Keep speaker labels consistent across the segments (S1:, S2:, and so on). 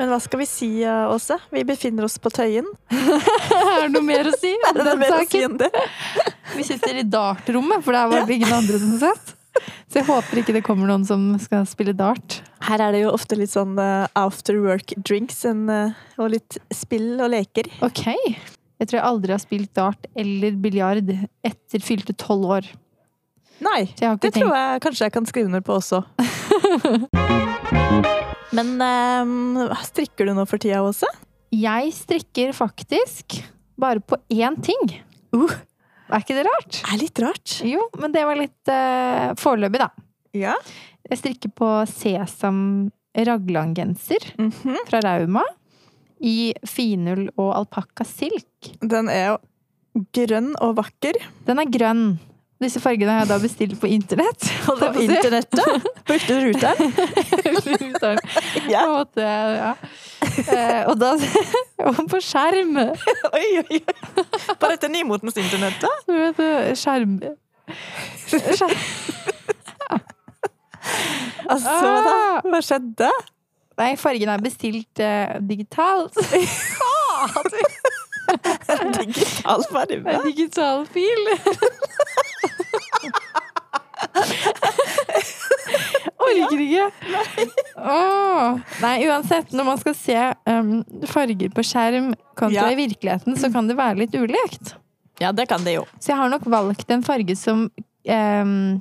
S1: Men hva skal vi si, eh, Åse? Vi befinner oss på Tøyen.
S2: Er det noe mer å si? om
S1: Er det
S2: den
S1: mer å si
S2: saken?
S1: enn det?
S2: Vi sitter i dartrommet, for der var det ingen andre som satt. Så jeg håper ikke det kommer noen som skal spille dart.
S1: Her er det jo ofte litt sånn eh, after work-drinks eh, og litt spill og leker.
S2: Ok. Jeg tror jeg aldri har spilt dart eller biljard etter fylte tolv år.
S1: Nei,
S2: Så jeg har
S1: det
S2: ikke
S1: tror
S2: tenkt
S1: jeg kanskje jeg kan skrive under på også. Men eh, strikker du nå for tida, Åse?
S2: Jeg strikker faktisk bare på én ting.
S1: Uh.
S2: Er ikke det rart?
S1: Det er litt rart.
S2: Jo, men det var litt eh, foreløpig, da.
S1: Ja.
S2: Jeg strikker på sesam raglangenser
S1: Mhm.
S2: fra Rauma. I finull og alpakka silk.
S1: Den er jo grønn og vakker.
S2: Den er grønn. Disse fargene har jeg da bestilt på internett. holdt jeg
S1: På
S2: på å si.
S1: internettet. Brukte du ruteren?
S2: Ruter.
S1: Ja.
S2: På en måte, ja. Eh, og da Og på skjerm!
S1: Oi, oi, oi. På dette nymotens internettet.
S2: Du vet, eh, skjerm Skjerm
S1: Altså, da.
S2: Ah!
S1: Hva skjedde?
S2: Nei, fargen er bestilt eh, digitalt.
S1: Digital farge.
S2: En digital fil. Orker ikke. Åh. Nei, uansett, når man skal se em, farger på skjerm kontra
S1: Ja.
S2: i virkeligheten, så kan det være litt ulikt.
S1: Ja, det kan det jo.
S2: Så jeg har nok valgt en farge som em,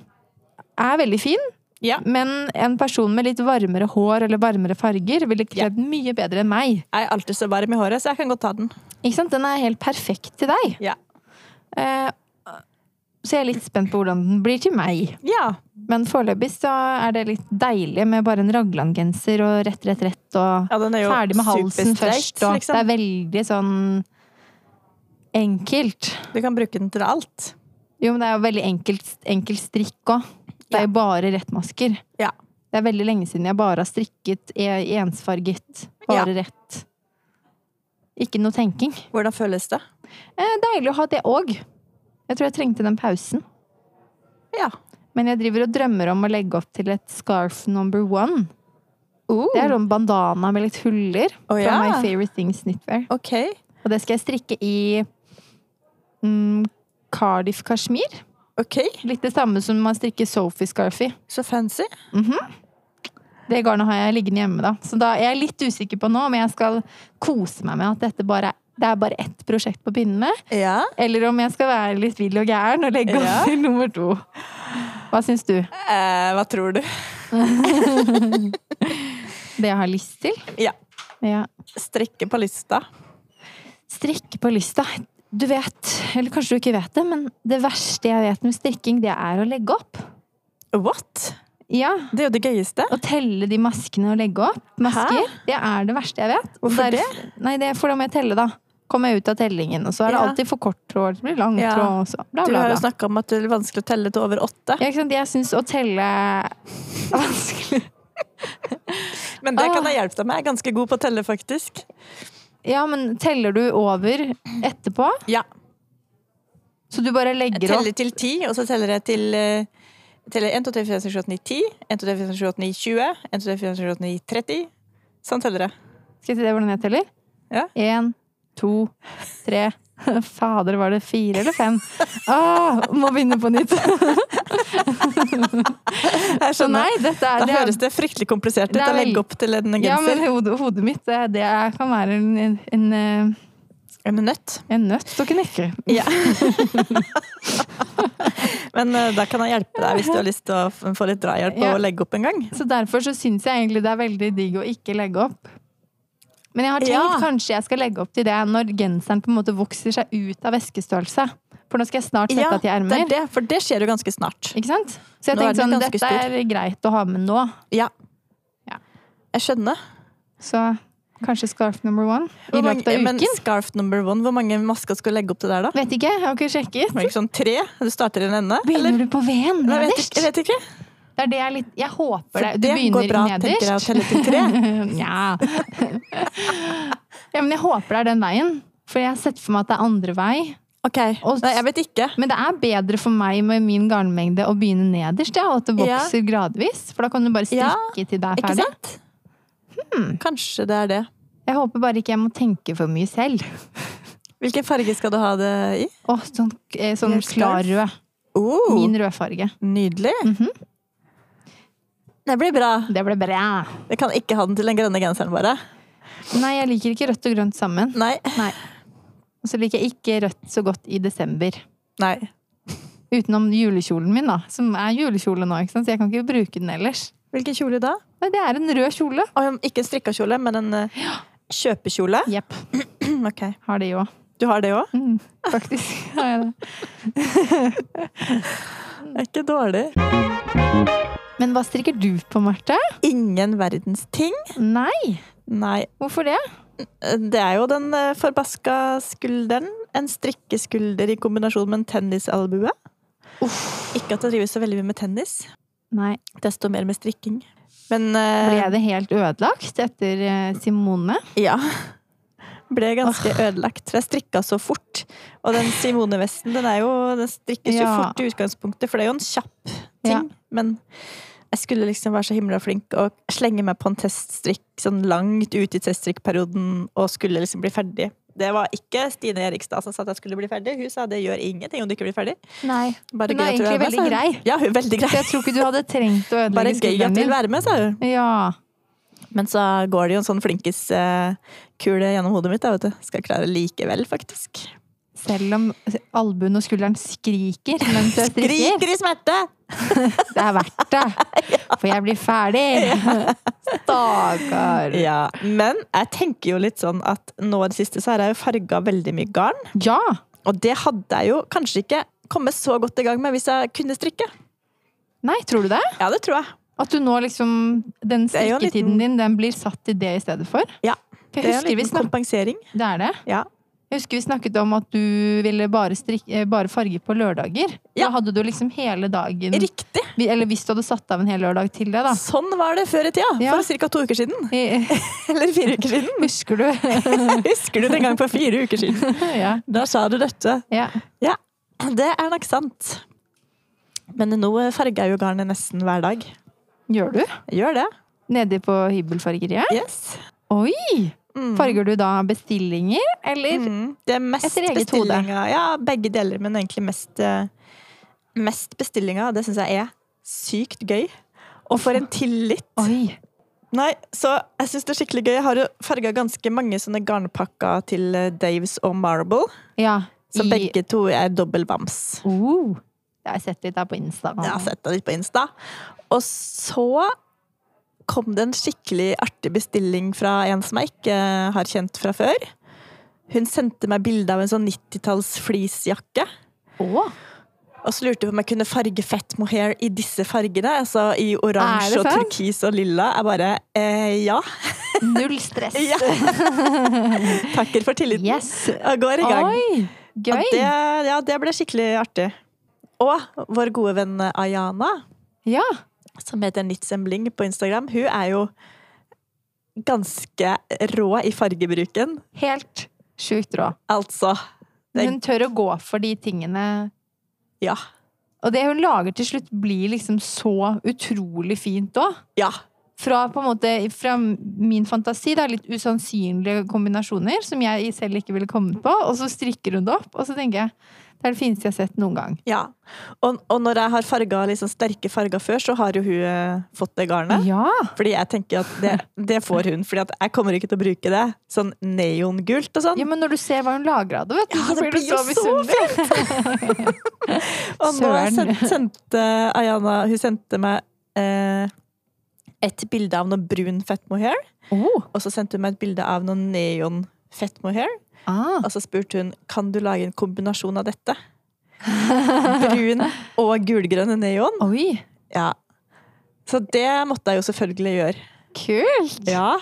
S2: er veldig fin,
S1: Ja.
S2: men en person med litt varmere hår eller varmere farger ville kledd mye bedre enn meg.
S1: Jeg er alltid så varm i håret, så jeg kan godt ta den.
S2: Ikke sant? Den er helt perfekt til deg.
S1: Ja.
S2: Eh, så jeg er litt spent på hvordan den blir til meg.
S1: Ja.
S2: Men foreløpig så er det litt deilig med bare en raglangenser og rett, rett, rett og
S1: ja den er jo
S2: ferdig med halsen
S1: superstreit,
S2: først. Og Det er
S1: Liksom.
S2: veldig sånn enkelt.
S1: Du kan bruke den til alt.
S2: Jo, men det er jo veldig enkelt, enkel strikk òg. Det
S1: Ja.
S2: er jo bare rettmasker.
S1: Ja.
S2: Det er veldig lenge siden jeg bare har strikket e- ensfarget. Bare rett. Ikke noe tenking.
S1: Hvordan føles det?
S2: Eh, deilig å ha det òg. Jeg tror jeg trengte den pausen.
S1: Ja.
S2: Men jeg driver og drømmer om å legge opp til et scarf number one.
S1: Uh.
S2: Det er sånn bandana med litt huller
S1: Å,
S2: fra
S1: ja.
S2: My Favorite Things Knitwear.
S1: Ok.
S2: Og det skal jeg strikke i mm, Cardiff Kashmir.
S1: Ok.
S2: Litt det samme som man strikker Sophie Scarf i.
S1: Så fancy.
S2: Det garnet har jeg liggende hjemme, da. Så da er jeg litt usikker på nå om jeg skal kose meg med at dette bare er, det er bare ett prosjekt på pinnene.
S1: Ja.
S2: Eller om jeg skal være litt vill og gæren og legge opp
S1: Ja.
S2: til nummer to. Hva syns du?
S1: Eh, hva tror du?
S2: Det jeg har lyst til?
S1: Ja.
S2: Ja.
S1: Strekke på lista.
S2: Strikke på lysta. Du vet, eller kanskje du ikke vet det, men det verste jeg vet med strikking, det er å legge opp.
S1: What?
S2: Ja,
S1: Det er jo det gøyeste.
S2: Å telle de maskene og legge opp. Masker. Det er det verste jeg vet.
S1: Hvorfor
S2: er- Nei, det er for da må jeg telle, da. Kommer jeg ut av tellingen, og så er det
S1: Ja.
S2: alltid for kort tråd. Det blir lang
S1: Ja.
S2: tråd også. Bla,
S1: Du
S2: bla,
S1: har jo
S2: bla.
S1: snakka om at det er vanskelig å telle til over åtte.
S2: Ja, ikke sant? Jeg syns å telle er vanskelig.
S1: Men det
S2: Ah.
S1: kan jeg hjelpe deg med. Jeg er ganske god på å telle, faktisk.
S2: Ja, men teller du over etterpå?
S1: Ja.
S2: Så du bare
S1: Jeg
S2: legger opp?
S1: teller til ti, og så teller jeg til eh, teller 1, 2, 3, 4, 5, 6, 7, 8, 9, 10. 1, 2, 3, 4, 5, 6, 7, 8, 9, 20. 1, 2, 3, 4, 5, 6, 8, 9, 30. Sånn teller jeg.
S2: Skal jeg si det hvordan jeg teller?
S1: Ja.
S2: Én, to, tre. Fader, var det fire eller fem? Ah, må begynne på nytt.
S1: Jeg
S2: Så nei,
S1: skjønner.
S2: dette er,
S1: Da
S2: det er
S1: høres det fryktelig komplisert ut
S2: Det er
S1: å
S2: vel-
S1: legge opp til en genser.
S2: Ja, men hodet, hodet mitt, det, det er- kan være en, en, en, eh,
S1: En nøtt.
S2: en nøtt å knekke.
S1: Ja. men eh, da kan jeg hjelpe deg hvis du har lyst til å f- få litt drahjelp
S2: Ja.
S1: og legge opp en gang.
S2: Så derfor så syns jeg egentlig det er veldig digg å ikke legge opp. Men jeg har tenkt
S1: Ja.
S2: kanskje jeg skal legge opp til det når genseren på en måte vokser seg ut av veskestørrelse. For nå skal jeg snart sette av til
S1: det
S2: ermer.
S1: er det, for det skjer jo ganske snart.
S2: Ikke sant? Så jeg
S1: Nå er
S2: tenkte
S1: den
S2: sånn,
S1: ganske
S2: dette er greit å ha med nå.
S1: Ja.
S2: Ja.
S1: Jeg skjønner.
S2: Så kanskje scarf number one i
S1: Hvor mange-
S2: løpet av
S1: men
S2: uken.
S1: scarf number one, hvor mange masker skal du legge opp til der, da?
S2: Vet ikke, jeg har ikke sjekket.
S1: Var det ikke sånn tre? Du starter i en ende? Eller?
S2: Begynner du på V-en
S1: Nei, jeg vet
S2: nederst?
S1: ikke. Jeg vet ikke.
S2: Det er det jeg er litt Jeg håper det.
S1: For
S2: Du
S1: det
S2: begynner
S1: går bra, tenker jeg, å
S2: nederst.
S1: telle til tre.
S2: Nja. ja, men jeg håper det er den veien. For jeg har sett for meg at det er andre vei.
S1: Ok.
S2: Og-
S1: Nei, jeg vet ikke.
S2: Men det er bedre for meg med min garnmengde å begynne nederst, ja, og at det
S1: Ja.
S2: vokser gradvis. For da kan du bare
S1: Ja,
S2: strikke til det er
S1: Ikke
S2: ferdig.
S1: sant? Kanskje det er det.
S2: Jeg håper bare ikke jeg må tenke for mye selv.
S1: Hvilken farge skal du ha det i?
S2: Åh, sånn eh, sånn
S1: Helt klar.
S2: klarrød.
S1: Oh,
S2: Min Mhm. rødfarge.
S1: Nydelig. Det blir bra.
S2: Det ble bra.
S1: Jeg kan ikke ha den til den grønne genseren, bare.
S2: Nei, jeg liker ikke rødt og grønt sammen.
S1: Nei.
S2: Nei. Og så liker jeg ikke rødt så godt i desember.
S1: Nei.
S2: Utenom julekjolen min, da. Som er julekjole nå, ikke sant? så jeg kan ikke bruke den ellers.
S1: Hvilken kjole da?
S2: Nei, det er en rød kjole.
S1: Å, ikke en strikka kjole, men en eh, kjøpekjole.
S2: Jepp.
S1: Ok.
S2: Har det jo.
S1: Du har det òg?
S2: Mm, faktisk har jeg det. Mm.
S1: Det er ikke dårlig.
S2: Men hva strikker du på, Marte?
S1: Ingen verdens ting.
S2: Nei.
S1: Nei.
S2: Hvorfor det?
S1: Det er jo den eh, forbaska skulderen. En strikkeskulder i kombinasjon med en tennisalbue. Ikke at jeg driver så veldig mye med tennis.
S2: Nei,
S1: Desto mer med strikking. Men eh,
S2: Ble det helt ødelagt etter eh, Simone?
S1: Ja. Ble ganske ødelagt. for Jeg strikka så fort. Og den Simone-vesten den er jo, den strikkes jo
S2: Ja.
S1: fort i utgangspunktet, for det er jo en kjapp ting.
S2: Ja.
S1: Men jeg skulle liksom være så himla flink og slenge meg på en teststrikk sånn langt ut i teststrikkperioden og skulle liksom bli ferdig. Det var ikke Stine Erikstad som sa at jeg skulle bli ferdig. Hun sa det gjør ingenting om du ikke blir ferdig.
S2: Nei.
S1: Bare
S2: Hun
S1: gøy at
S2: er
S1: du med,
S2: egentlig
S1: sa
S2: veldig
S1: hun.
S2: grei.
S1: Ja, hun er veldig
S2: Så
S1: grei.
S2: jeg tror ikke du hadde trengt å
S1: Bare
S2: ødelegge
S1: gøy at
S2: skulderen
S1: du vil
S2: din.
S1: være med, sa hun.
S2: Ja.
S1: Men så går det jo en sånn flinkis-kule gjennom hodet mitt. Da, vet du. Skal klare likevel, faktisk.
S2: Selv om albuen og skulderen skriker mens jeg strikker.
S1: Skriker i smerte!
S2: Det er verdt det. For jeg blir ferdig. Stakkar.
S1: Ja, Men jeg tenker jo litt sånn at nå i det siste så har jeg jo farga veldig mye garn.
S2: Ja.
S1: Og det hadde jeg jo kanskje ikke kommet så godt i gang med hvis jeg kunne strikke.
S2: Nei, tror du det?
S1: Ja, det tror jeg.
S2: At du nå liksom Den
S1: er jo en
S2: strikketiden din, den blir satt til det i stedet for?
S1: Ja.
S2: For
S1: Det er
S2: jeg
S1: en
S2: husker vi
S1: liten
S2: snakket,
S1: kompensering.
S2: det er det.
S1: Ja.
S2: Jeg husker vi snakket om at du ville bare, strik- eh, bare farge på lørdager.
S1: Ja.
S2: Da hadde du liksom hele dagen
S1: Riktig!
S2: Vi- Eller hvis du hadde satt av en hel lørdag til det, da.
S1: Sånn var det før i tida.
S2: Ja.
S1: For ca. to uker siden.
S2: I-
S1: Eller fire uker siden.
S2: Husker du?
S1: Husker du den gang for fire uker siden?
S2: ja.
S1: Da sa du dette.
S2: ja.
S1: Ja, det er nok sant. Men nå farger jeg jo garnet nesten hver dag.
S2: Gjør du?
S1: Jeg gjør det.
S2: Nede på hybelfargeriet?
S1: Yes.
S2: Oi!
S1: Mm.
S2: Farger du da bestillinger, eller?
S1: Mm. Det er mest
S2: Etter eget hode.
S1: bestillinga. Ja, begge deler, men egentlig mest, eh, mest bestillinga. Det syns jeg er sykt gøy. Og for en tillit!
S2: Oi!
S1: Nei, så jeg syns det er skikkelig gøy. Jeg har jo farga ganske mange sånne garnpakker til eh, Daves og Marble.
S2: Ja.
S1: Så
S2: i-
S1: begge to er dobbel bams.
S2: Oh. Jeg har sett litt der på Insta.
S1: Jeg har sett det litt på Insta. Og så kom det en skikkelig artig bestilling fra en som jeg ikke eh, har kjent fra før. Hun sendte meg bilde av en sånn 90-talls fleecejakke.
S2: Å,
S1: Og så lurte hun på om jeg kunne farge fett mohair i disse fargene. Altså i
S2: Er det
S1: oransje og
S2: sant?
S1: turkis og lilla. Jeg bare eh, ja.
S2: Null stress.
S1: ja. Takker for tilliten.
S2: Yes.
S1: Og går i gang.
S2: Oi!
S1: Og det,
S2: Gøy.
S1: ja, det ble skikkelig artig. Og vår gode venn Ayana,
S2: Ja.
S1: som heter Nitzen Bling på Instagram, hun er jo ganske rå i fargebruken.
S2: Helt sjukt rå.
S1: Altså. Det-
S2: Hun tør å gå for de tingene
S1: Ja.
S2: Og det hun lager til slutt, blir liksom så utrolig fint òg.
S1: Ja.
S2: Fra, på en måte, fra min fantasi, da, litt usannsynlige kombinasjoner som jeg selv ikke ville kommet på, og så strikker hun det opp, og så tenker jeg det er det fineste jeg har sett noen gang.
S1: ja. Og, og når jeg har farga liksom sterke farger før, så har jo hun eh, fått det garnet.
S2: Ja!
S1: Fordi jeg tenker at det, det får hun, fordi at jeg kommer ikke til å bruke det. Sånn neongult og sånn.
S2: ja! Men når du ser hva hun lager av det, vet du,
S1: Ja,
S2: så
S1: det
S2: blir du
S1: blir jo
S2: så
S1: så
S2: misunnelig.
S1: Og nå
S2: søren.
S1: sendte, sendte Ayana Hun sendte meg eh, et bilde av noe brun fett mohair,
S2: Oh.
S1: og så sendte hun meg et bilde av noe neon fett mohair.
S2: Ah.
S1: Og så spurte hun kan du lage en kombinasjon av dette. Brun og gulgrønn neon.
S2: Oi!
S1: Ja. Så det måtte jeg jo selvfølgelig gjøre.
S2: Kult!
S1: Ja.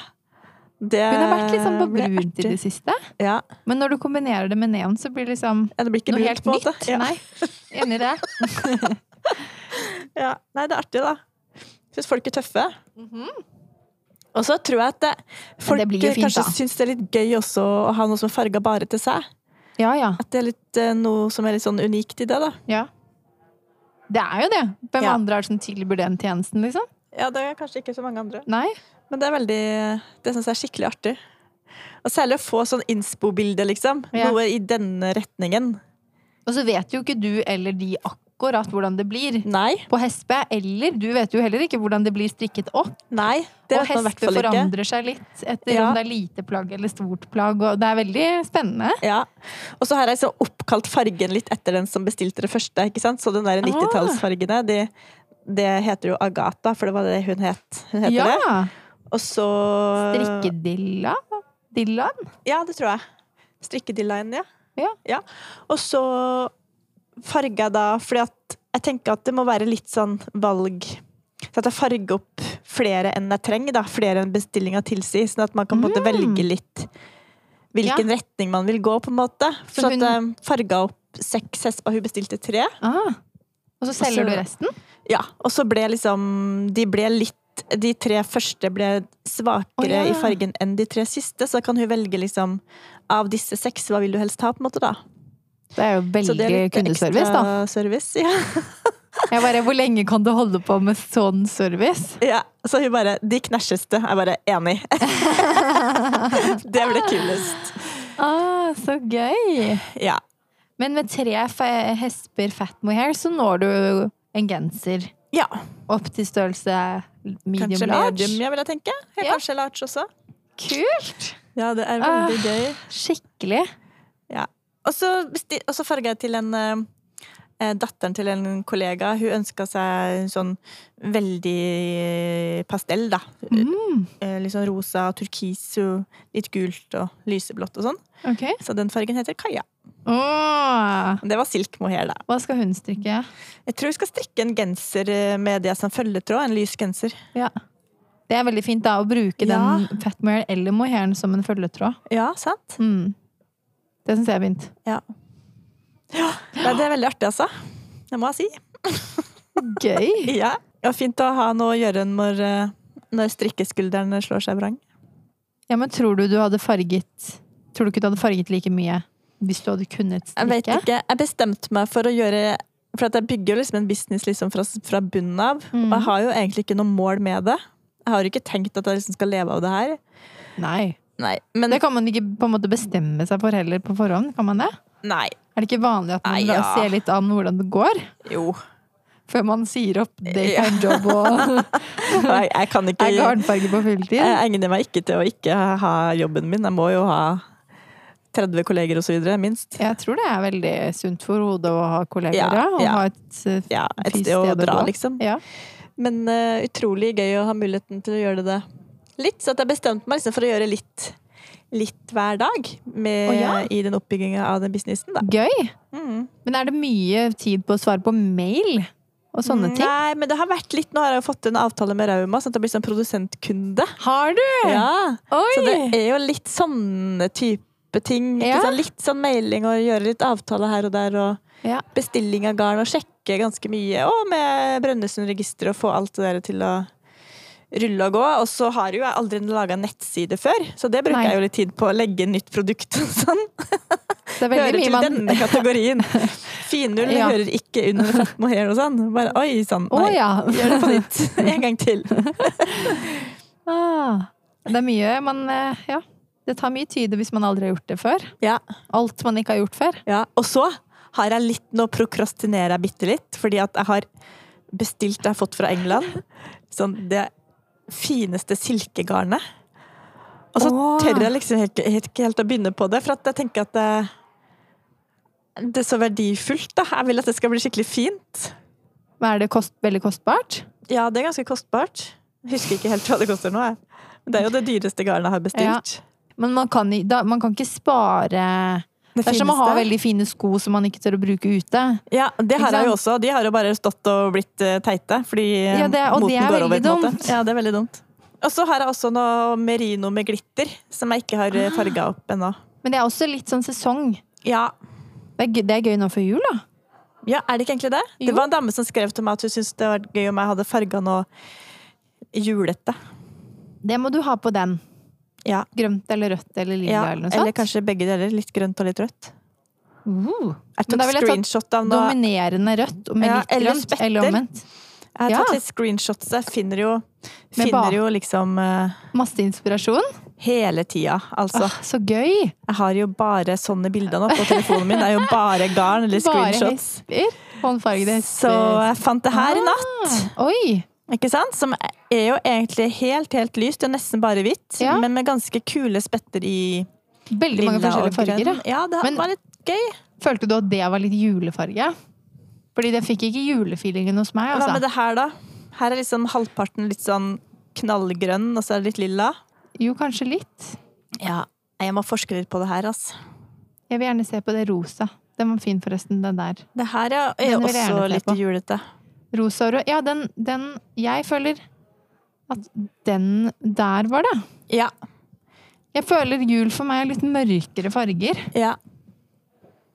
S1: Det
S2: Hun har vært litt sånn på
S1: Eh, ble
S2: brunt i
S1: artig.
S2: det siste.
S1: Ja.
S2: Men når du kombinerer det med neon, så blir det liksom
S1: Ja, Det blir ikke
S2: noe
S1: brunt,
S2: helt
S1: på en
S2: nytt.
S1: måte. Ja.
S2: Nei, enig i det.
S1: Ja. Nei, det er artig, da. Syns folk er tøffe. Og så tror jeg at det, folk
S2: Mhm. det blir jo fint,
S1: kanskje
S2: da.
S1: syns det er litt gøy også å ha noe som er farga bare til seg.
S2: Ja, ja.
S1: At det er litt, eh, noe som er litt sånn unikt i det, da.
S2: Ja. Det er jo det. Hvem
S1: Ja.
S2: andre er det som tilbyr den tjenesten, liksom?
S1: Ja, det er kanskje ikke så mange andre.
S2: Nei?
S1: Men det er veldig Det syns jeg er skikkelig artig. Og særlig å få sånn innspo-bilde, liksom.
S2: Ja.
S1: Noe i denne retningen.
S2: Og så vet jo ikke du eller de akkurat hvordan det blir
S1: Nei.
S2: på hespe. Eller du vet jo heller ikke hvordan det blir strikket opp.
S1: Nei. Det
S2: og
S1: vet man i hvert
S2: hespe
S1: fall ikke.
S2: forandrer seg litt etter
S1: Ja.
S2: om det er lite plagg eller stort plagg. Og det er veldig spennende.
S1: Ja. Og så har jeg så oppkalt fargen litt etter den som bestilte det første. ikke sant? Så den
S2: Ah.
S1: der 90-tallsfargene, de, det heter jo Agatha, for det var det hun het. Hun heter
S2: ja!
S1: det. Og så
S2: Strikkedilla. Dillaen.
S1: Ja, det tror jeg. Strikkedillaen, ja.
S2: Ja.
S1: Og så farga jeg da fordi at jeg tenker at det må være litt sånn valg Så at jeg farger opp flere enn jeg trenger, da. Flere enn bestillinga tilsier. Sånn at man kan på en
S2: Mm.
S1: måte velge litt hvilken retning man vil gå, på en måte.
S2: Så
S1: Så,
S2: hun-
S1: at jeg farga opp seks hesper. Hun bestilte tre.
S2: Ah. Og så selger
S1: så-
S2: du resten?
S1: Ja, og så ble liksom De ble litt de tre første ble svakere
S2: Å, ja.
S1: i fargen enn de tre siste, så kan hun velge liksom av disse seks, hva vil du helst ha, på en måte, da.
S2: Det er jo
S1: Så
S2: veldig
S1: det er litt
S2: kundeservice, da.
S1: ekstra Service, ja.
S2: Jeg bare, Hvor lenge kan du holde på med sånn service?
S1: ja. Så hun bare De knæsjeste. Jeg bare enig. det ble kulest.
S2: Ah, så gøy!
S1: Ja.
S2: Men med tre fe- hesper fat mohair så når du en genser
S1: ja.
S2: opp til størrelse medium
S1: Kanskje
S2: large.
S1: medium, ja, vil jeg tenke. Ja,
S2: Ja.
S1: Kanskje large også.
S2: Kult!
S1: Ja, det er
S2: Ah.
S1: veldig gøy.
S2: Skikkelig.
S1: Og så, besti- og så farga jeg til en eh, Datteren til en kollega hun ønska seg en sånn veldig pastell, da.
S2: Mm.
S1: Eh, Litt sånn rosa, turkis, og litt gult og lyseblått og sånn.
S2: Ok.
S1: Så den fargen heter Kaja.
S2: Åh.
S1: Det var silk mohair, da.
S2: Hva skal hun strikke?
S1: Jeg tror vi skal strikke en genser eh, med det som følgetråd. En lys genser.
S2: Det er veldig fint da, å bruke
S1: Ja.
S2: den fat mohair eller mohairen som en følgetråd.
S1: Ja, sant?
S2: Mm. Det syns jeg er fint.
S1: Nei, det er veldig artig, altså. Det må jeg si.
S2: Gøy!
S1: Ja. Det var fint å ha noe å gjøre når, eh, når strikkeskulderen slår seg vrang.
S2: Ja, men tror du du hadde farget Tror du ikke du hadde farget like mye hvis du hadde kunnet
S1: Jeg vet
S2: strikke?
S1: ikke. Jeg bestemte meg for å gjøre For at jeg bygger jo liksom en business liksom fra, fra bunnen av.
S2: Mm.
S1: Og jeg har jo egentlig ikke noe mål med det. Jeg har jo ikke tenkt at jeg liksom skal leve av det her.
S2: Nei.
S1: Nei, men
S2: Det kan man ikke på en måte bestemme seg for heller på forhånd, kan man det?
S1: Nei.
S2: Er det ikke vanlig at man
S1: Nei, ja.
S2: ser litt an hvordan det går,
S1: Jo.
S2: før man sier opp
S1: Ja.
S2: daytime job og
S1: Jeg, jeg kan ikke
S2: er garnfarge på fulltid?
S1: Jeg egner meg ikke til å ikke ha jobben min. Jeg må jo ha 30 kolleger og så videre, minst.
S2: Jeg tror det er veldig sunt for hodet å ha kolleger,
S1: Ja,
S2: ja. Og
S1: ja.
S2: ha et eh,
S1: Ja, et
S2: fy
S1: sted å
S2: sted å
S1: dra,
S2: gå.
S1: liksom.
S2: Ja.
S1: Men eh, utrolig gøy å ha muligheten til å gjøre det litt. Så at jeg bestemte meg liksom for å gjøre litt, litt hver dag med,
S2: Å, ja.
S1: i den oppbygginga av den businessen. Da.
S2: Gøy!
S1: Mm.
S2: Men er det mye tid på å svare på mail og sånne ting?
S1: Nei, men det har vært litt Nå har jeg jo fått en avtale med Rauma, sånn at jeg blir sånn produsentkunde.
S2: Har du?
S1: Ja.
S2: Oi!
S1: Så det er jo litt sånne type ting.
S2: Ja.
S1: Ikke sant? Litt sånn mailing og gjøre litt avtale her og der, og
S2: Ja.
S1: bestilling av garn og sjekke ganske mye. Og med Brønnøysundregisteret og få alt det der til å rulle og gå. Og så har jo jeg aldri laga nettside før, så det bruker
S2: Nei.
S1: jeg jo litt tid på. å Legge inn nytt produkt og sånn.
S2: Det er veldig
S1: Hører
S2: mye
S1: til
S2: man
S1: denne kategorien. Finull
S2: Ja.
S1: hører ikke under Fat Mohair og sånn. Bare oi sann,
S2: Å
S1: nei.
S2: ja!
S1: Gjør det på nytt. En gang til.
S2: Ah. Det er mye man eh, Ja. Det tar mye tid hvis man aldri har gjort det før.
S1: Ja.
S2: Alt man ikke har gjort før.
S1: Ja, og så har jeg litt, nå prokrastinerer jeg bitte litt, fordi at jeg har bestilt det jeg har fått fra England. Sånn det fineste silkegarnet. Og så
S2: Åh.
S1: tør jeg liksom helt, helt, ikke helt å begynne på det, for at jeg tenker at det, det er så verdifullt. da. Jeg vil at det skal bli skikkelig fint.
S2: Men er det kost, veldig kostbart?
S1: Ja, det er ganske kostbart. Jeg Husker ikke helt hva det koster nå. Jeg. Men det er jo det dyreste garnet jeg har bestilt.
S2: Men man kan, i- da, man kan ikke spare
S1: Det,
S2: Det er som å ha
S1: fineste.
S2: veldig fine sko som man ikke tør å bruke ute.
S1: Ja, det
S2: Ikke
S1: har jeg jo
S2: sant?
S1: også. De har jo bare stått og blitt eh, teite, fordi eh,
S2: Ja, det er- og
S1: moten
S2: det er
S1: går over.
S2: veldig
S1: på en måte.
S2: dumt.
S1: Ja, det er veldig dumt. Og så har jeg også noe merino med glitter, som jeg ikke
S2: Ah.
S1: har farga opp ennå.
S2: Men det er også litt sånn sesong.
S1: Ja.
S2: Det er gøy, det er gøy nå før jul, da.
S1: ja, er det ikke egentlig det?
S2: Jo.
S1: Det var en dame som skrev til meg at hun syntes det var gøy om jeg hadde farga noe julete.
S2: Det må du ha på den.
S1: Ja.
S2: Grønt eller rødt eller lilla
S1: Ja,
S2: eller noe sånt.
S1: eller kanskje begge deler. Litt grønt og litt rødt.
S2: Uh,
S1: Jeg
S2: Men da
S1: tok
S2: ville jeg tatt
S1: screenshot av noe
S2: dominerende rødt og med
S1: Ja,
S2: litt
S1: eller
S2: grønt.
S1: spetter.
S2: Eller omvendt.
S1: Jeg har
S2: ja.
S1: tatt litt screenshots. Jeg finner jo,
S2: Med ba-
S1: finner jo liksom eh,
S2: Masse inspirasjon.
S1: Hele tida, altså.
S2: Åh, så gøy!
S1: Jeg har jo bare sånne bilder nå på telefonen min. Det er jo bare garn eller
S2: Bare
S1: screenshots.
S2: hesper. Håndfargede
S1: Så
S2: hesper.
S1: jeg fant det her i natt,
S2: Ah, oi!
S1: ikke sant? Som er jo egentlig helt, helt lyst. Det er nesten bare hvitt,
S2: Ja.
S1: men med ganske kule spetter i
S2: Veldig mange
S1: lilla og
S2: forskjellige farger.
S1: grønn.
S2: Ja.
S1: Ja, det
S2: Men-
S1: var litt gøy.
S2: Følte du at det var litt julefarge? Fordi det fikk ikke julefeelingen hos meg.
S1: Hva med
S2: Altså.
S1: det her, da? Her er liksom halvparten litt sånn knallgrønn, og så er det litt lilla.
S2: Jo, kanskje litt.
S1: Ja, jeg må forske litt på det her, altså.
S2: Jeg vil gjerne se på det rosa. Den var fin, forresten. Den der.
S1: Det her er, er
S2: Den vil jeg
S1: også
S2: gjerne se
S1: litt
S2: på.
S1: julete.
S2: Rosa og rød. Ja, den, den Jeg føler at den der var det.
S1: Ja,
S2: Jeg føler jul for meg er litt mørkere farger.
S1: ja.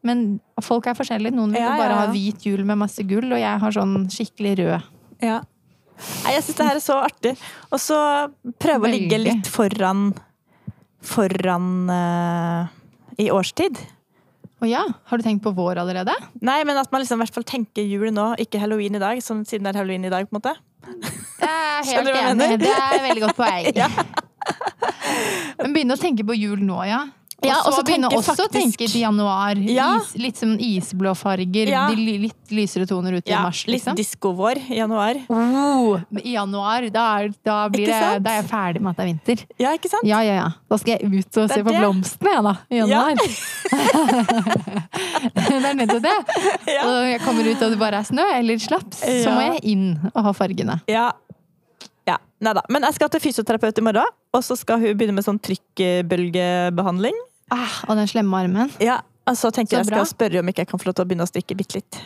S2: Men folk er forskjellige. Noen vil
S1: Ja,
S2: jo
S1: ja,
S2: bare
S1: ja.
S2: ha hvit jul med masse gull, og jeg har sånn skikkelig rød.
S1: Ja. Nei, jeg syns det her er så artig. Og så prøve å ligge
S2: Veldig.
S1: litt foran foran eh, i årstid.
S2: Å ja, har du tenkt på vår allerede?
S1: Nei, men at man liksom i hvert fall tenker jul nå, ikke halloween i dag. Sånn siden det er halloween i dag, på en måte.
S2: Det er
S1: Skjønner du hva jeg mener?
S2: Det er veldig godt poeng. Men begynne å tenke på jul nå, ja. Og
S1: Ja, og
S2: så
S1: så
S2: begynne
S1: tenke
S2: også å
S1: faktisk-
S2: tenke til januar.
S1: Ja.
S2: Is, litt som isblå farger.
S1: Ja.
S2: De li- litt lysere toner ut i
S1: Ja,
S2: mars,
S1: litt
S2: liksom.
S1: diskovår i januar.
S2: Oh, men I januar, da er, da blir
S1: Ikke
S2: det,
S1: sant?
S2: da er jeg ferdig med at det er vinter.
S1: Ja, ikke sant?
S2: Ja, ja, ja. Da skal jeg ut og
S1: Det
S2: se
S1: er
S2: på
S1: det.
S2: blomstene, jeg, da. I januar. det er nettopp det.
S1: Ja.
S2: Og jeg kommer ut og det bare er snø eller slaps, så
S1: Ja.
S2: må jeg inn og ha fargene.
S1: Ja. ja. Nei da. Men jeg skal til fysioterapeut i morgen, og så skal hun begynne med sånn trykkbølgebehandling.
S2: Ah, og den slemme armen.
S1: Ja, og så tenker
S2: Så
S1: jeg jeg
S2: bra.
S1: skal spørre om ikke jeg kan få lov til å begynne å strikke bitte litt.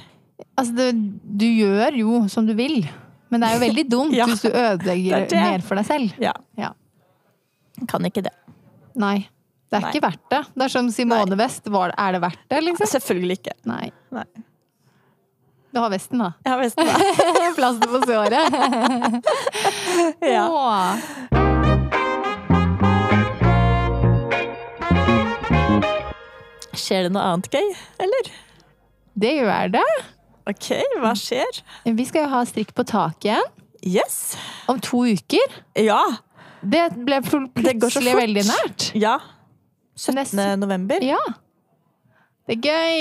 S2: Altså, det, du gjør jo som du vil, men det er jo veldig dumt
S1: Ja.
S2: hvis du
S1: Det
S2: ødelegger
S1: er det.
S2: mer for deg selv.
S1: Ja.
S2: Ja.
S1: Kan ikke det.
S2: Nei. Det er
S1: Nei.
S2: ikke verdt det. Det er som Simone West. Var, det- er det verdt det, liksom?
S1: Selvfølgelig ikke.
S2: Nei.
S1: Nei.
S2: Du har vesten, da.
S1: Ja, visst det.
S2: Plaster på såret.
S1: Ja.
S2: Åh.
S1: Skjer det noe annet gøy, eller?
S2: Det gjør det.
S1: Ok, hva skjer?
S2: Vi skal jo ha strikk på taket igjen
S1: Yes!
S2: om to uker.
S1: Ja!
S2: Det ble pl-
S1: Det går så
S2: plutselig
S1: fort.
S2: veldig nært.
S1: Ja.
S2: Neste,
S1: 17. november.
S2: ja. Det er gøy.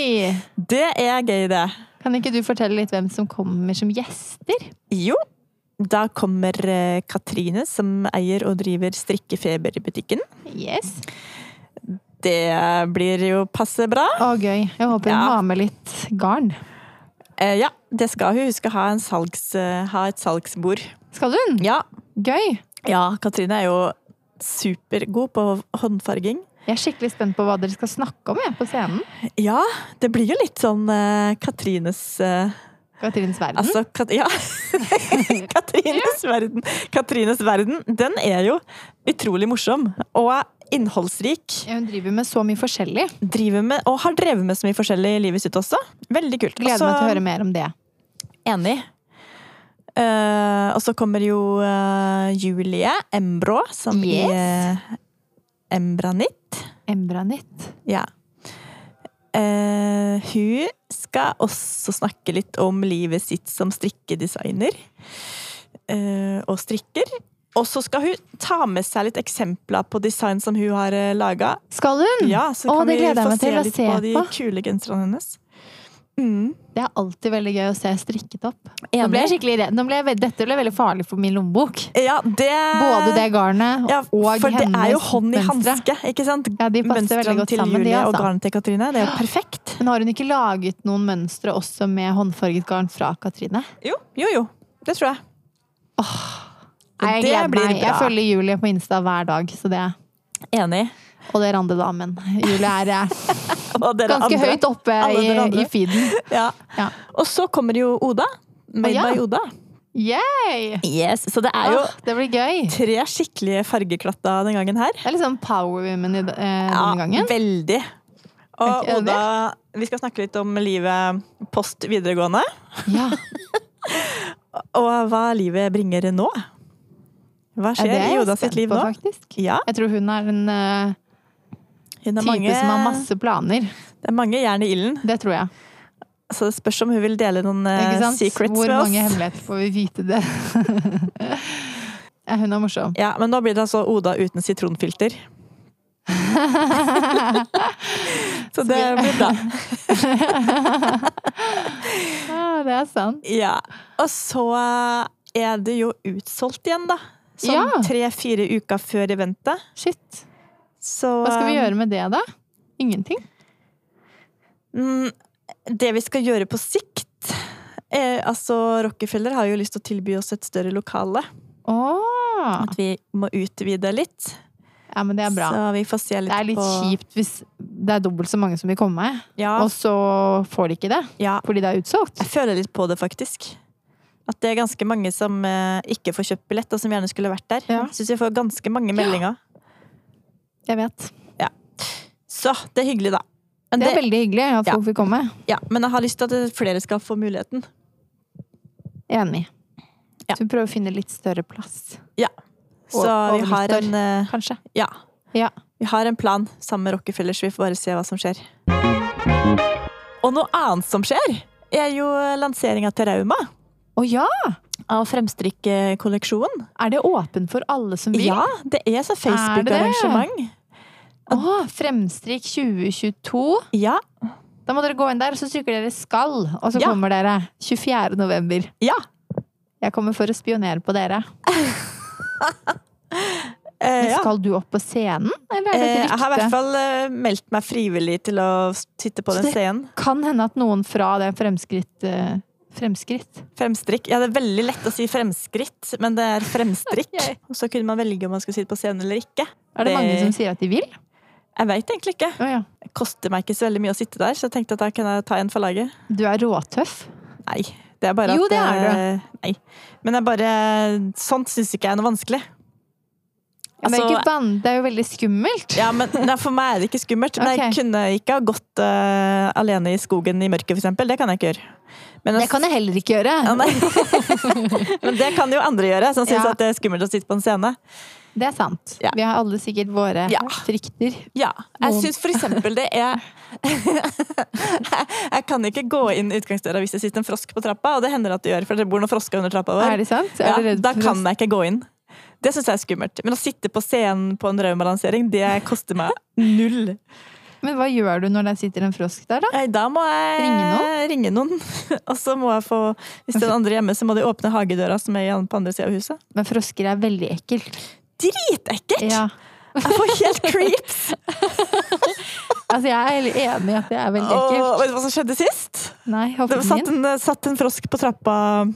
S1: Det er gøy, det.
S2: Kan ikke du fortelle litt hvem som kommer som gjester?
S1: Jo, da kommer eh, Katrine, som eier og driver Strikkefeber i butikken.
S2: Yes.
S1: Det blir jo passe bra.
S2: Å, gøy. Jeg håper hun
S1: Ja.
S2: har med litt garn.
S1: Eh, ja, det skal hun. Hun skal ha, en salgs, eh, ha et salgsbord.
S2: Skal hun?
S1: Ja.
S2: Gøy.
S1: ja, Katrine er jo supergod på håndfarging.
S2: Jeg er skikkelig spent på hva dere skal snakke om jeg, på scenen.
S1: Ja, det blir jo litt sånn eh, Katrines eh,
S2: Katrines verden.
S1: Altså, Kat ja. Katrines verden. Katrines verden, den er jo utrolig morsom og innholdsrik.
S2: Ja, hun driver med så mye forskjellig.
S1: Driver med, og har drevet med så mye forskjellig i livet sitt også. Veldig kult.
S2: Gleder meg til å høre mer om det.
S1: Enig. Eh, og så kommer jo eh, Julie Embrå, som
S2: Yes.
S1: i eh, Embranit.
S2: Embranit.
S1: Ja. Eh, hun skal også snakke litt om livet sitt som strikkedesigner eh, og strikker. Og så skal hun ta med seg litt eksempler på design som hun har uh, laga.
S2: Skal hun?
S1: Ja, så
S2: Mm. Å,
S1: kan
S2: det
S1: vi
S2: gleder jeg
S1: få
S2: meg til
S1: se
S2: å
S1: litt
S2: se
S1: på de
S2: på.
S1: kule genserne hennes. Mm,
S2: Det er alltid veldig gøy å se strikket opp. Nå
S1: enig.
S2: ble jeg skikkelig redd. Nå ble jeg, ve- dette ble veldig farlig for min lommebok.
S1: Ja, det
S2: Både det garnet
S1: ja,
S2: og hennes
S1: For det er jo hånd i
S2: mønstre.
S1: hanske, ikke sant?
S2: Ja, de passer veldig
S1: Mønstrene
S2: godt
S1: til
S2: sammen, de,
S1: Julie og
S2: altså.
S1: garnet til Katrine. Det er jo perfekt.
S2: Men har hun ikke laget noen mønstre også med håndfarget garn fra Katrine?
S1: Jo, jo, jo. Det tror jeg.
S2: Nei, jeg
S1: det
S2: gleder
S1: blir
S2: meg. Jeg
S1: bra.
S2: følger Julie på Insta hver dag, så det
S1: Enig.
S2: Og dere andre, da, men Julie er eh,
S1: Og dere
S2: ganske
S1: andre.
S2: høyt oppe
S1: Alle
S2: i,
S1: dere andre.
S2: i feeden.
S1: Ja.
S2: Ja.
S1: Og så kommer jo Oda. Made
S2: Å, ja.
S1: by Oda.
S2: Yay!
S1: Yes, så det er jo
S2: Åh, det blir gøy.
S1: tre skikkelige fargeklatter den gangen her.
S2: Det er litt sånn power women i, d- eh, denne gangen.
S1: veldig. Og
S2: Er ikke
S1: Oda, vi skal snakke litt om livet post videregående.
S2: Ja,
S1: Og hva livet bringer nå. Hva
S2: det
S1: skjer
S2: er
S1: i
S2: jeg
S1: Oda sitt
S2: spent
S1: liv
S2: på,
S1: nå?
S2: faktisk.
S1: Ja,
S2: Jeg tror hun er en eh,
S1: hun har
S2: type
S1: mange,
S2: som har masse planer.
S1: det er mange jern i ilden.
S2: Det tror jeg.
S1: Så det spørs om hun vil dele noen eh,
S2: Ikke sant?
S1: secrets
S2: Hvor
S1: med oss.
S2: mange hemmeligheter får vi vite det? Ja, hun er morsom.
S1: Ja, men nå blir det altså Oda uten sitronfilter. Så det blir bra.
S2: ah, det er sant.
S1: Ja. Og så er det jo utsolgt igjen, da.
S2: Ja.
S1: Sånn tre-fire uker før eventet.
S2: Shit.
S1: Så
S2: Hva skal vi gjøre med det, da? Ingenting?
S1: Mm, Det vi skal gjøre på sikt er, Altså, Rockefeller har jo lyst til å tilby oss et større lokale.
S2: Åh.
S1: At vi må utvide litt.
S2: Ja, men det er bra.
S1: Så vi får se litt
S2: Det er litt
S1: på
S2: kjipt hvis det er dobbelt så mange som vil komme,
S1: Ja,
S2: og så får de ikke det
S1: ja.
S2: fordi det er utsolgt.
S1: Jeg føler litt på det, faktisk. At det er ganske mange som eh, ikke får kjøpt billett, og som gjerne skulle vært der.
S2: Ja.
S1: Jeg Syns vi får ganske mange meldinger.
S2: Jeg vet.
S1: Så det er hyggelig, da. Men,
S2: Det er
S1: det,
S2: veldig hyggelig at
S1: Ja.
S2: folk vil komme.
S1: ja, men jeg har lyst til at flere skal få muligheten.
S2: Enig.
S1: Ja.
S2: Så vi prøver å finne litt større plass,
S1: Så
S2: Og-
S1: vi
S2: over
S1: har
S2: nyttår.
S1: en eh,
S2: kanskje.
S1: Ja.
S2: Ja.
S1: Vi har en plan sammen med Rockefeller, så vi får bare se hva som skjer. Og noe annet som skjer, er jo lanseringa til Rauma
S2: Å ja!
S1: av Fremstrikkekolleksjonen.
S2: Er det åpen for alle som vil?
S1: Ja, det er så Facebook-arrangement.
S2: Å, Fremstrik 2022.
S1: Ja,
S2: Da må dere gå inn der, og så trykker dere 'skal', og så
S1: Ja.
S2: kommer dere. 24. november.
S1: ja.
S2: Jeg kommer for å spionere på dere.
S1: Eh,
S2: Men
S1: ja.
S2: skal du opp på scenen, eller er det
S1: Eh,
S2: et
S1: Jeg har i
S2: rykte?
S1: hvert fall eh, meldt meg frivillig til å sitte på
S2: Så
S1: den
S2: det-
S1: scenen.
S2: Kan hende at noen fra det fremskritt eh, Fremskritt?
S1: Fremstrikk. Ja, det er veldig lett å si fremskritt, men det er fremstrikk.
S2: Ok.
S1: Og så kunne man velge om man skulle sitte på scenen eller ikke.
S2: Er det,
S1: Det-
S2: mange som sier at de vil?
S1: Jeg veit egentlig ikke.
S2: Å ja.
S1: Det koster meg ikke så veldig mye å sitte der, så jeg tenkte at da kan jeg ta en for laget.
S2: Du er råtøff.
S1: Nei. Det er bare
S2: Jo,
S1: at
S2: det er
S1: eh, Nei. Men jeg bare Sånt syns ikke jeg er noe vanskelig.
S2: men
S1: Altså-
S2: ikke bann, det er jo veldig skummelt.
S1: Ja, men nei, For meg er det ikke skummelt. Men
S2: Ok.
S1: jeg kunne ikke ha gått eh, alene i skogen i mørket, for eksempel. Det kan jeg ikke gjøre. Men,
S2: Det kan jeg heller ikke gjøre.
S1: ja, nei. men det kan jo andre gjøre, som syns
S2: Ja.
S1: at det er skummelt å sitte på en scene.
S2: Det er sant.
S1: Ja.
S2: Vi har alle sikkert våre
S1: Ja.
S2: frykter.
S1: Ja. Jeg
S2: Noen-
S1: syns for eksempel det er Jeg kan ikke gå inn utgangsdøra hvis det sitter en frosk på trappa, og det hender at det gjør, for det bor noen frosker under trappa vår.
S2: Er det sant?
S1: Ja,
S2: er du redd
S1: da
S2: for
S1: kan
S2: oss?
S1: jeg ikke gå inn. Det syns jeg er skummelt. Men å sitte på scenen på en raumalansering, det koster meg null.
S2: Men hva gjør du når det sitter en frosk der, da?
S1: Nei, Da må jeg
S2: Ringe
S1: ringe noen. Og så må jeg få Hvis det er andre hjemme, så må de åpne hagedøra som er igjen på andre sida av huset.
S2: Men frosker er veldig ekkelt.
S1: Dritekkelt!
S2: Ja.
S1: Jeg får helt creeps!
S2: Altså, jeg er helt enig i at det er veldig
S1: Og
S2: ekkelt.
S1: vet du hva som skjedde sist?
S2: Nei,
S1: Det
S2: hoppen
S1: satt
S2: min.
S1: en, eh, satt en frosk på trappa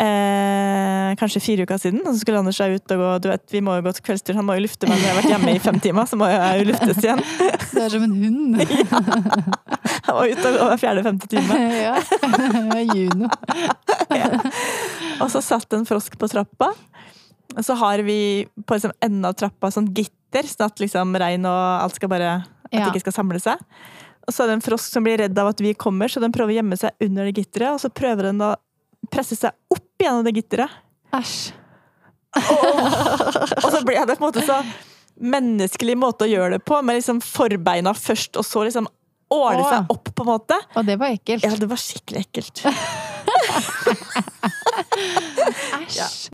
S1: Eh, kanskje fire uker siden, og så skulle Anders seg ut og gå du vet, Vi må jo gå til kveldstur, han må jo lufte meg når jeg har vært hjemme i fem timer. Så må jeg jo luftes igjen.
S2: Du er som en hund.
S1: Han var ute og var fjerde-femte time.
S2: ja. Juno.
S1: Og så satt en frosk på trappa. Og så har vi på liksom enden av trappa sånn gitter, sånn at liksom regn og alt skal bare At
S2: Ja.
S1: det ikke skal samle seg. Og så er det en frosk som blir redd av at vi kommer, så den prøver å gjemme seg under det gitteret. Og så prøver den å presse seg opp gjennom det gitteret.
S2: Æsj.
S1: Og så ble det på en måte så menneskelig måte å gjøre det på, med liksom forbeina først, og så liksom åle seg opp, på en måte.
S2: Og det var ekkelt.
S1: Ja, det var skikkelig ekkelt.
S2: Æsj.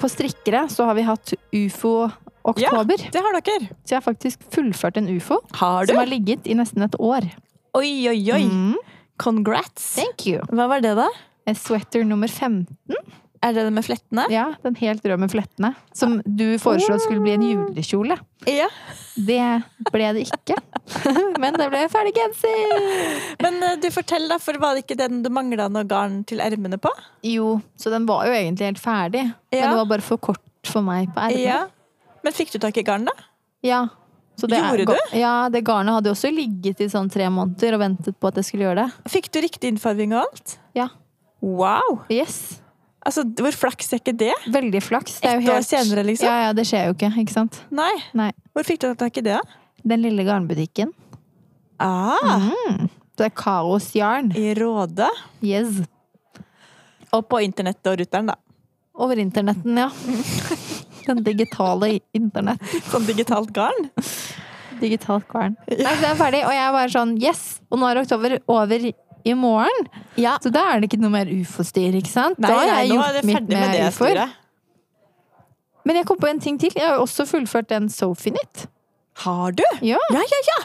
S2: På strikkere så har vi hatt ufo oktober.
S1: Det har dere.
S2: Så jeg har faktisk fullført en ufo
S1: Har
S2: som har ligget i nesten et år.
S1: Oi, oi, oi.
S2: Mm,
S1: Congrats.
S2: thank you.
S1: Hva var det, da?
S2: En sweater nummer 15.
S1: Er det det med flettene?
S2: Ja, den helt røde med flettene. Som du foreslo at skulle bli en julekjole.
S1: Ja.
S2: Det ble det ikke. Men det ble en ferdig genser!
S1: Men eh, du fortell, da, for var det ikke den du mangla noe garn til ermene på?
S2: Jo, så den var jo egentlig helt ferdig.
S1: Ja.
S2: Men det var bare for kort for meg på ermet.
S1: Ja. Men fikk du tak i garn, da?
S2: Ja. Så det er-
S1: Gjorde du?
S2: ga- Ja, det garnet hadde jo også ligget i sånn tre måneder og ventet på at jeg skulle gjøre det.
S1: Fikk du riktig innfarving og alt?
S2: Ja.
S1: Wow!
S2: Yes.
S1: Altså, Hvor flaks er ikke det?
S2: Veldig flaks. Det er jo
S1: Ett år
S2: helt...
S1: senere, liksom?
S2: Ja, ja, det skjer jo ikke, ikke sant?
S1: Nei.
S2: Nei.
S1: Hvor fikk du tak i det? da?
S2: Den lille garnbutikken.
S1: Ah,
S2: Det er kaosjarn.
S1: I Råde.
S2: Yes.
S1: Og på internettet og ruteren, da.
S2: Over internetten, ja. Den digitale internett.
S1: Sånn digitalt garn.
S2: Digitalt garn. Nei, så det er ferdig, og jeg er bare sånn yes! Og nå er oktober over i morgen.
S1: Ja.
S2: Så da er det ikke noe mer ufo-styr, ikke sant? da har jeg
S1: nå
S2: gjort
S1: er det
S2: mitt
S1: ferdig med
S2: med
S1: det
S2: ufoer.
S1: styret.
S2: Men jeg kom på en ting til. Jeg har jo også fullført den Sofinit.
S1: Har du?
S2: Ja.
S1: Ja, ja, ja!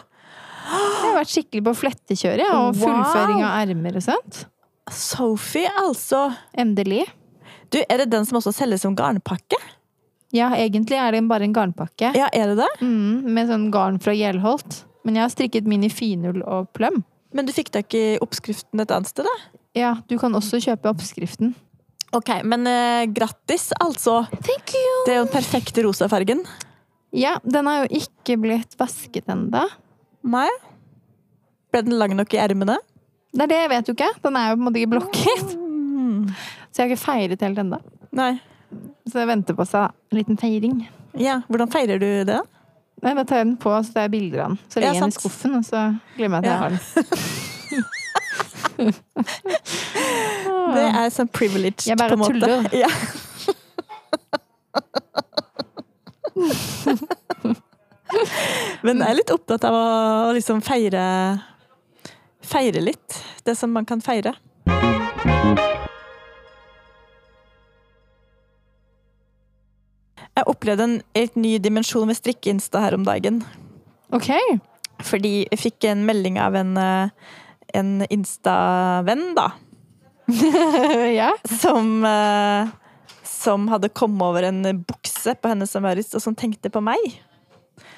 S2: Jeg har vært skikkelig på flettekjøret ja, og
S1: Wow.
S2: fullføring av ermer og sånt.
S1: Sophie, altså.
S2: Endelig.
S1: Du, er det den som også selges som garnpakke?
S2: Ja, egentlig er det bare en garnpakke
S1: Ja, er det det?
S2: mm, med sånn garn fra Gjelholt. Men jeg har strikket min i finull og pløm.
S1: Men du fikk da ikke oppskriften et annet sted, da?
S2: Ja, du kan også kjøpe oppskriften.
S1: Ok, men eh, grattis, altså.
S2: Thank you!
S1: Det er jo den perfekte rosa fargen.
S2: Ja, den har jo ikke blitt vasket enda.
S1: Nei? Ble den lang nok i ermene?
S2: Det er det jeg vet jo ikke. Den er jo på en måte ikke blokket.
S1: Mm.
S2: Så jeg har ikke feiret helt enda.
S1: Nei.
S2: Så det venter på seg en liten feiring.
S1: Ja, hvordan feirer du det?
S2: Nei, da tar jeg den på, så tar jeg bilder av den. Så
S1: Ja,
S2: legger jeg den i
S1: sant.
S2: skuffen, og så glemmer jeg at jeg
S1: Ja.
S2: har den.
S1: Det er sånn privileged,
S2: Jeg bare
S1: på en måte.
S2: tuller.
S1: Ja. Men jeg er litt opptatt av å, å liksom feire Feire litt. Det som man kan feire. Jeg opplevde en helt ny dimensjon ved strikkeinsta her om dagen.
S2: Ok.
S1: Fordi jeg fikk en melding av en, eh, en insta-venn, da.
S2: ja.
S1: som, eh, som hadde kommet over en bukse på henne som Maurits, og som tenkte på meg.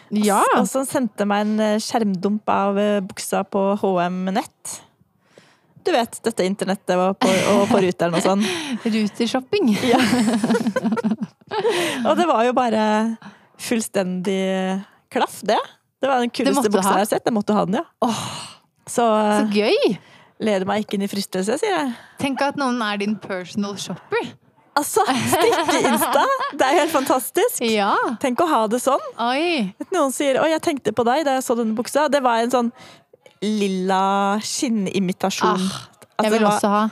S2: Ja.
S1: Og som sendte meg en eh, skjermdump av eh, buksa på HM Nett. Du vet, dette internettet var på, og på ruteren og sånn.
S2: Rutershopping.
S1: Og det var jo bare fullstendig klaff, det. Det var den
S2: måtte
S1: kuleste
S2: du ha.
S1: buksa jeg har sett. Jeg måtte ha den, ja. Så
S2: Så
S1: eh,
S2: gøy!
S1: leder meg ikke inn i fristelse, sier jeg.
S2: Tenk at noen er din personal shopper.
S1: Altså, strikke-insta! Det er helt fantastisk.
S2: Ja.
S1: Tenk å ha det sånn.
S2: Oi.
S1: At noen sier 'Å, jeg tenkte på deg da jeg så denne buksa'. Det var en sånn lilla skinnimitasjon.
S2: Ah,
S1: Altså, det
S2: jeg vil
S1: var
S2: også ha.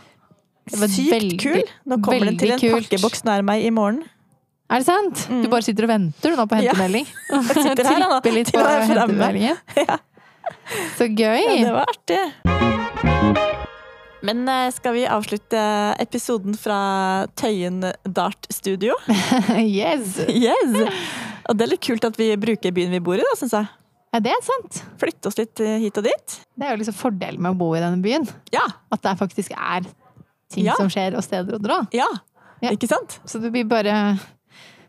S2: det var
S1: sykt
S2: veldig-
S1: kul. Nå kommer den til en
S2: veldig kult.
S1: pakkeboks nær meg i morgen.
S2: Er det sant? Du bare sitter og venter du nå på
S1: Ja.
S2: hentemelding.
S1: Jeg sitter her nå,
S2: Tripper litt
S1: til å
S2: på
S1: være fremme.
S2: hentemeldingen. Så gøy!
S1: Ja, det var artig. Men eh, skal vi avslutte episoden fra Tøyen Dart Studio?
S2: Yes!
S1: Yes! Og det er litt kult at vi bruker byen vi bor i, da, syns jeg.
S2: Ja, det er sant.
S1: Flytte oss litt eh, hit og dit.
S2: Det er jo liksom fordelen med å bo i denne byen.
S1: Ja.
S2: At det faktisk er ting
S1: Ja.
S2: som skjer, og steder å dra.
S1: Ja.
S2: Ja.
S1: Ikke sant?
S2: Så det blir bare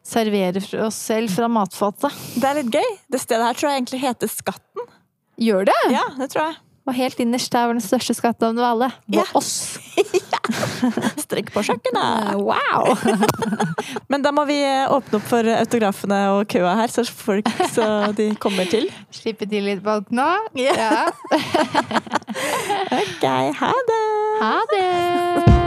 S2: servere for oss selv fra matfatet.
S1: Det er litt gøy. Det stedet her tror jeg egentlig heter Skatten.
S2: Gjør det!
S1: Ja, det tror jeg.
S2: Og helt innerst der var den største skatten av alle.
S1: Ja.
S2: Var oss!
S1: Strikk på kjøkkenet!
S2: Wow!
S1: Men da må vi eh, åpne opp for autografene og køa her, så, folk, så de kommer til.
S2: Slippe til litt folk nå.
S1: Ja.
S2: Ja.
S1: Ok, ha det!
S2: Ha det!